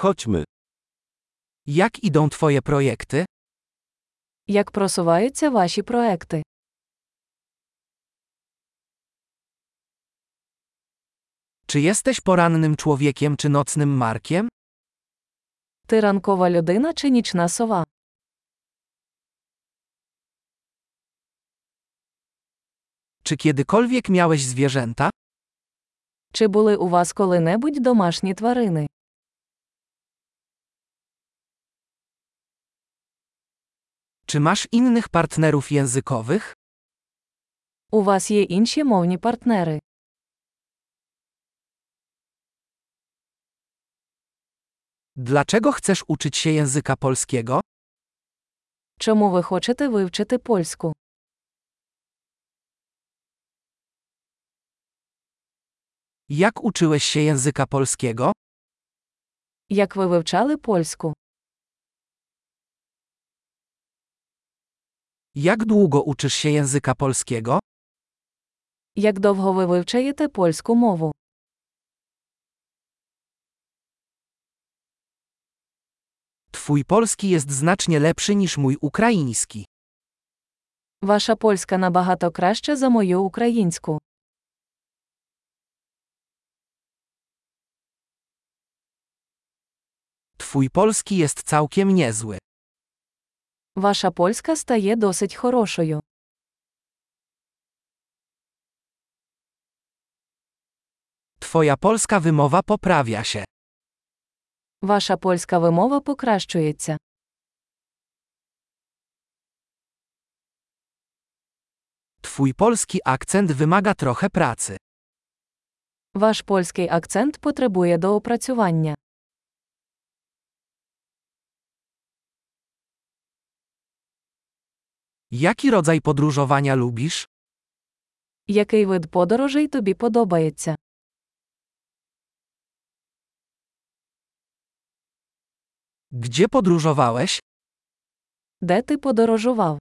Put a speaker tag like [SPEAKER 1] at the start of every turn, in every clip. [SPEAKER 1] Chodźmy. Jak idą Twoje projekty?
[SPEAKER 2] Як просуваються ваші проекти?
[SPEAKER 1] Czy jesteś porannym człowiekiem czy nocnym markiem?
[SPEAKER 2] Ти ранкова людина чи нічна сова?
[SPEAKER 1] Czy kiedykolwiek miałeś zwierzęta?
[SPEAKER 2] Чи були у вас коли-небудь домашні тварини?
[SPEAKER 1] Czy masz innych partnerów językowych?
[SPEAKER 2] У вас є інші мовні партнери.
[SPEAKER 1] Dlaczego chcesz uczyć się języka polskiego?
[SPEAKER 2] Чому ви хочете вивчити польську?
[SPEAKER 1] Jak uczyłeś się języka polskiego?
[SPEAKER 2] Як ви вивчали польську?
[SPEAKER 1] Jak długo uczysz się języka polskiego?
[SPEAKER 2] Як довго ви вивчаєте польську мову?
[SPEAKER 1] Twój polski jest znacznie lepszy niż mój ukraiński.
[SPEAKER 2] Ваша польська набагато краще за мою українську.
[SPEAKER 1] Twój polski jest całkiem niezły.
[SPEAKER 2] Ваша польська стає досить хорошою.
[SPEAKER 1] Twoja polska wymowa poprawia się.
[SPEAKER 2] Ваша польська вимова покращується.
[SPEAKER 1] Twój polski akcent wymaga trochę pracy.
[SPEAKER 2] Ваш польський акцент потребує доопрацювання.
[SPEAKER 1] Jaki rodzaj podróżowania lubisz?
[SPEAKER 2] Який вид подорожей тобі подобається?
[SPEAKER 1] Gdzie podróżowałeś?
[SPEAKER 2] Де ти подорожував?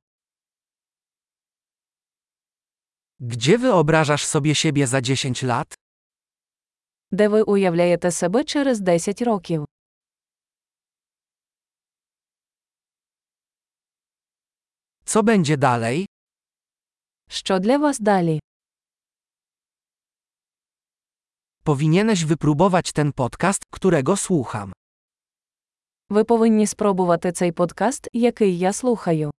[SPEAKER 1] Gdzie wyobrażasz sobie siebie za 10 lat?
[SPEAKER 2] Де ви уявляєте себе через 10 років?
[SPEAKER 1] Co będzie dalej?
[SPEAKER 2] Що для вас далі?
[SPEAKER 1] Powinieneś wypróbować ten podcast, którego słucham.
[SPEAKER 2] Ви повинні спробувати цей подкаст, який я слухаю.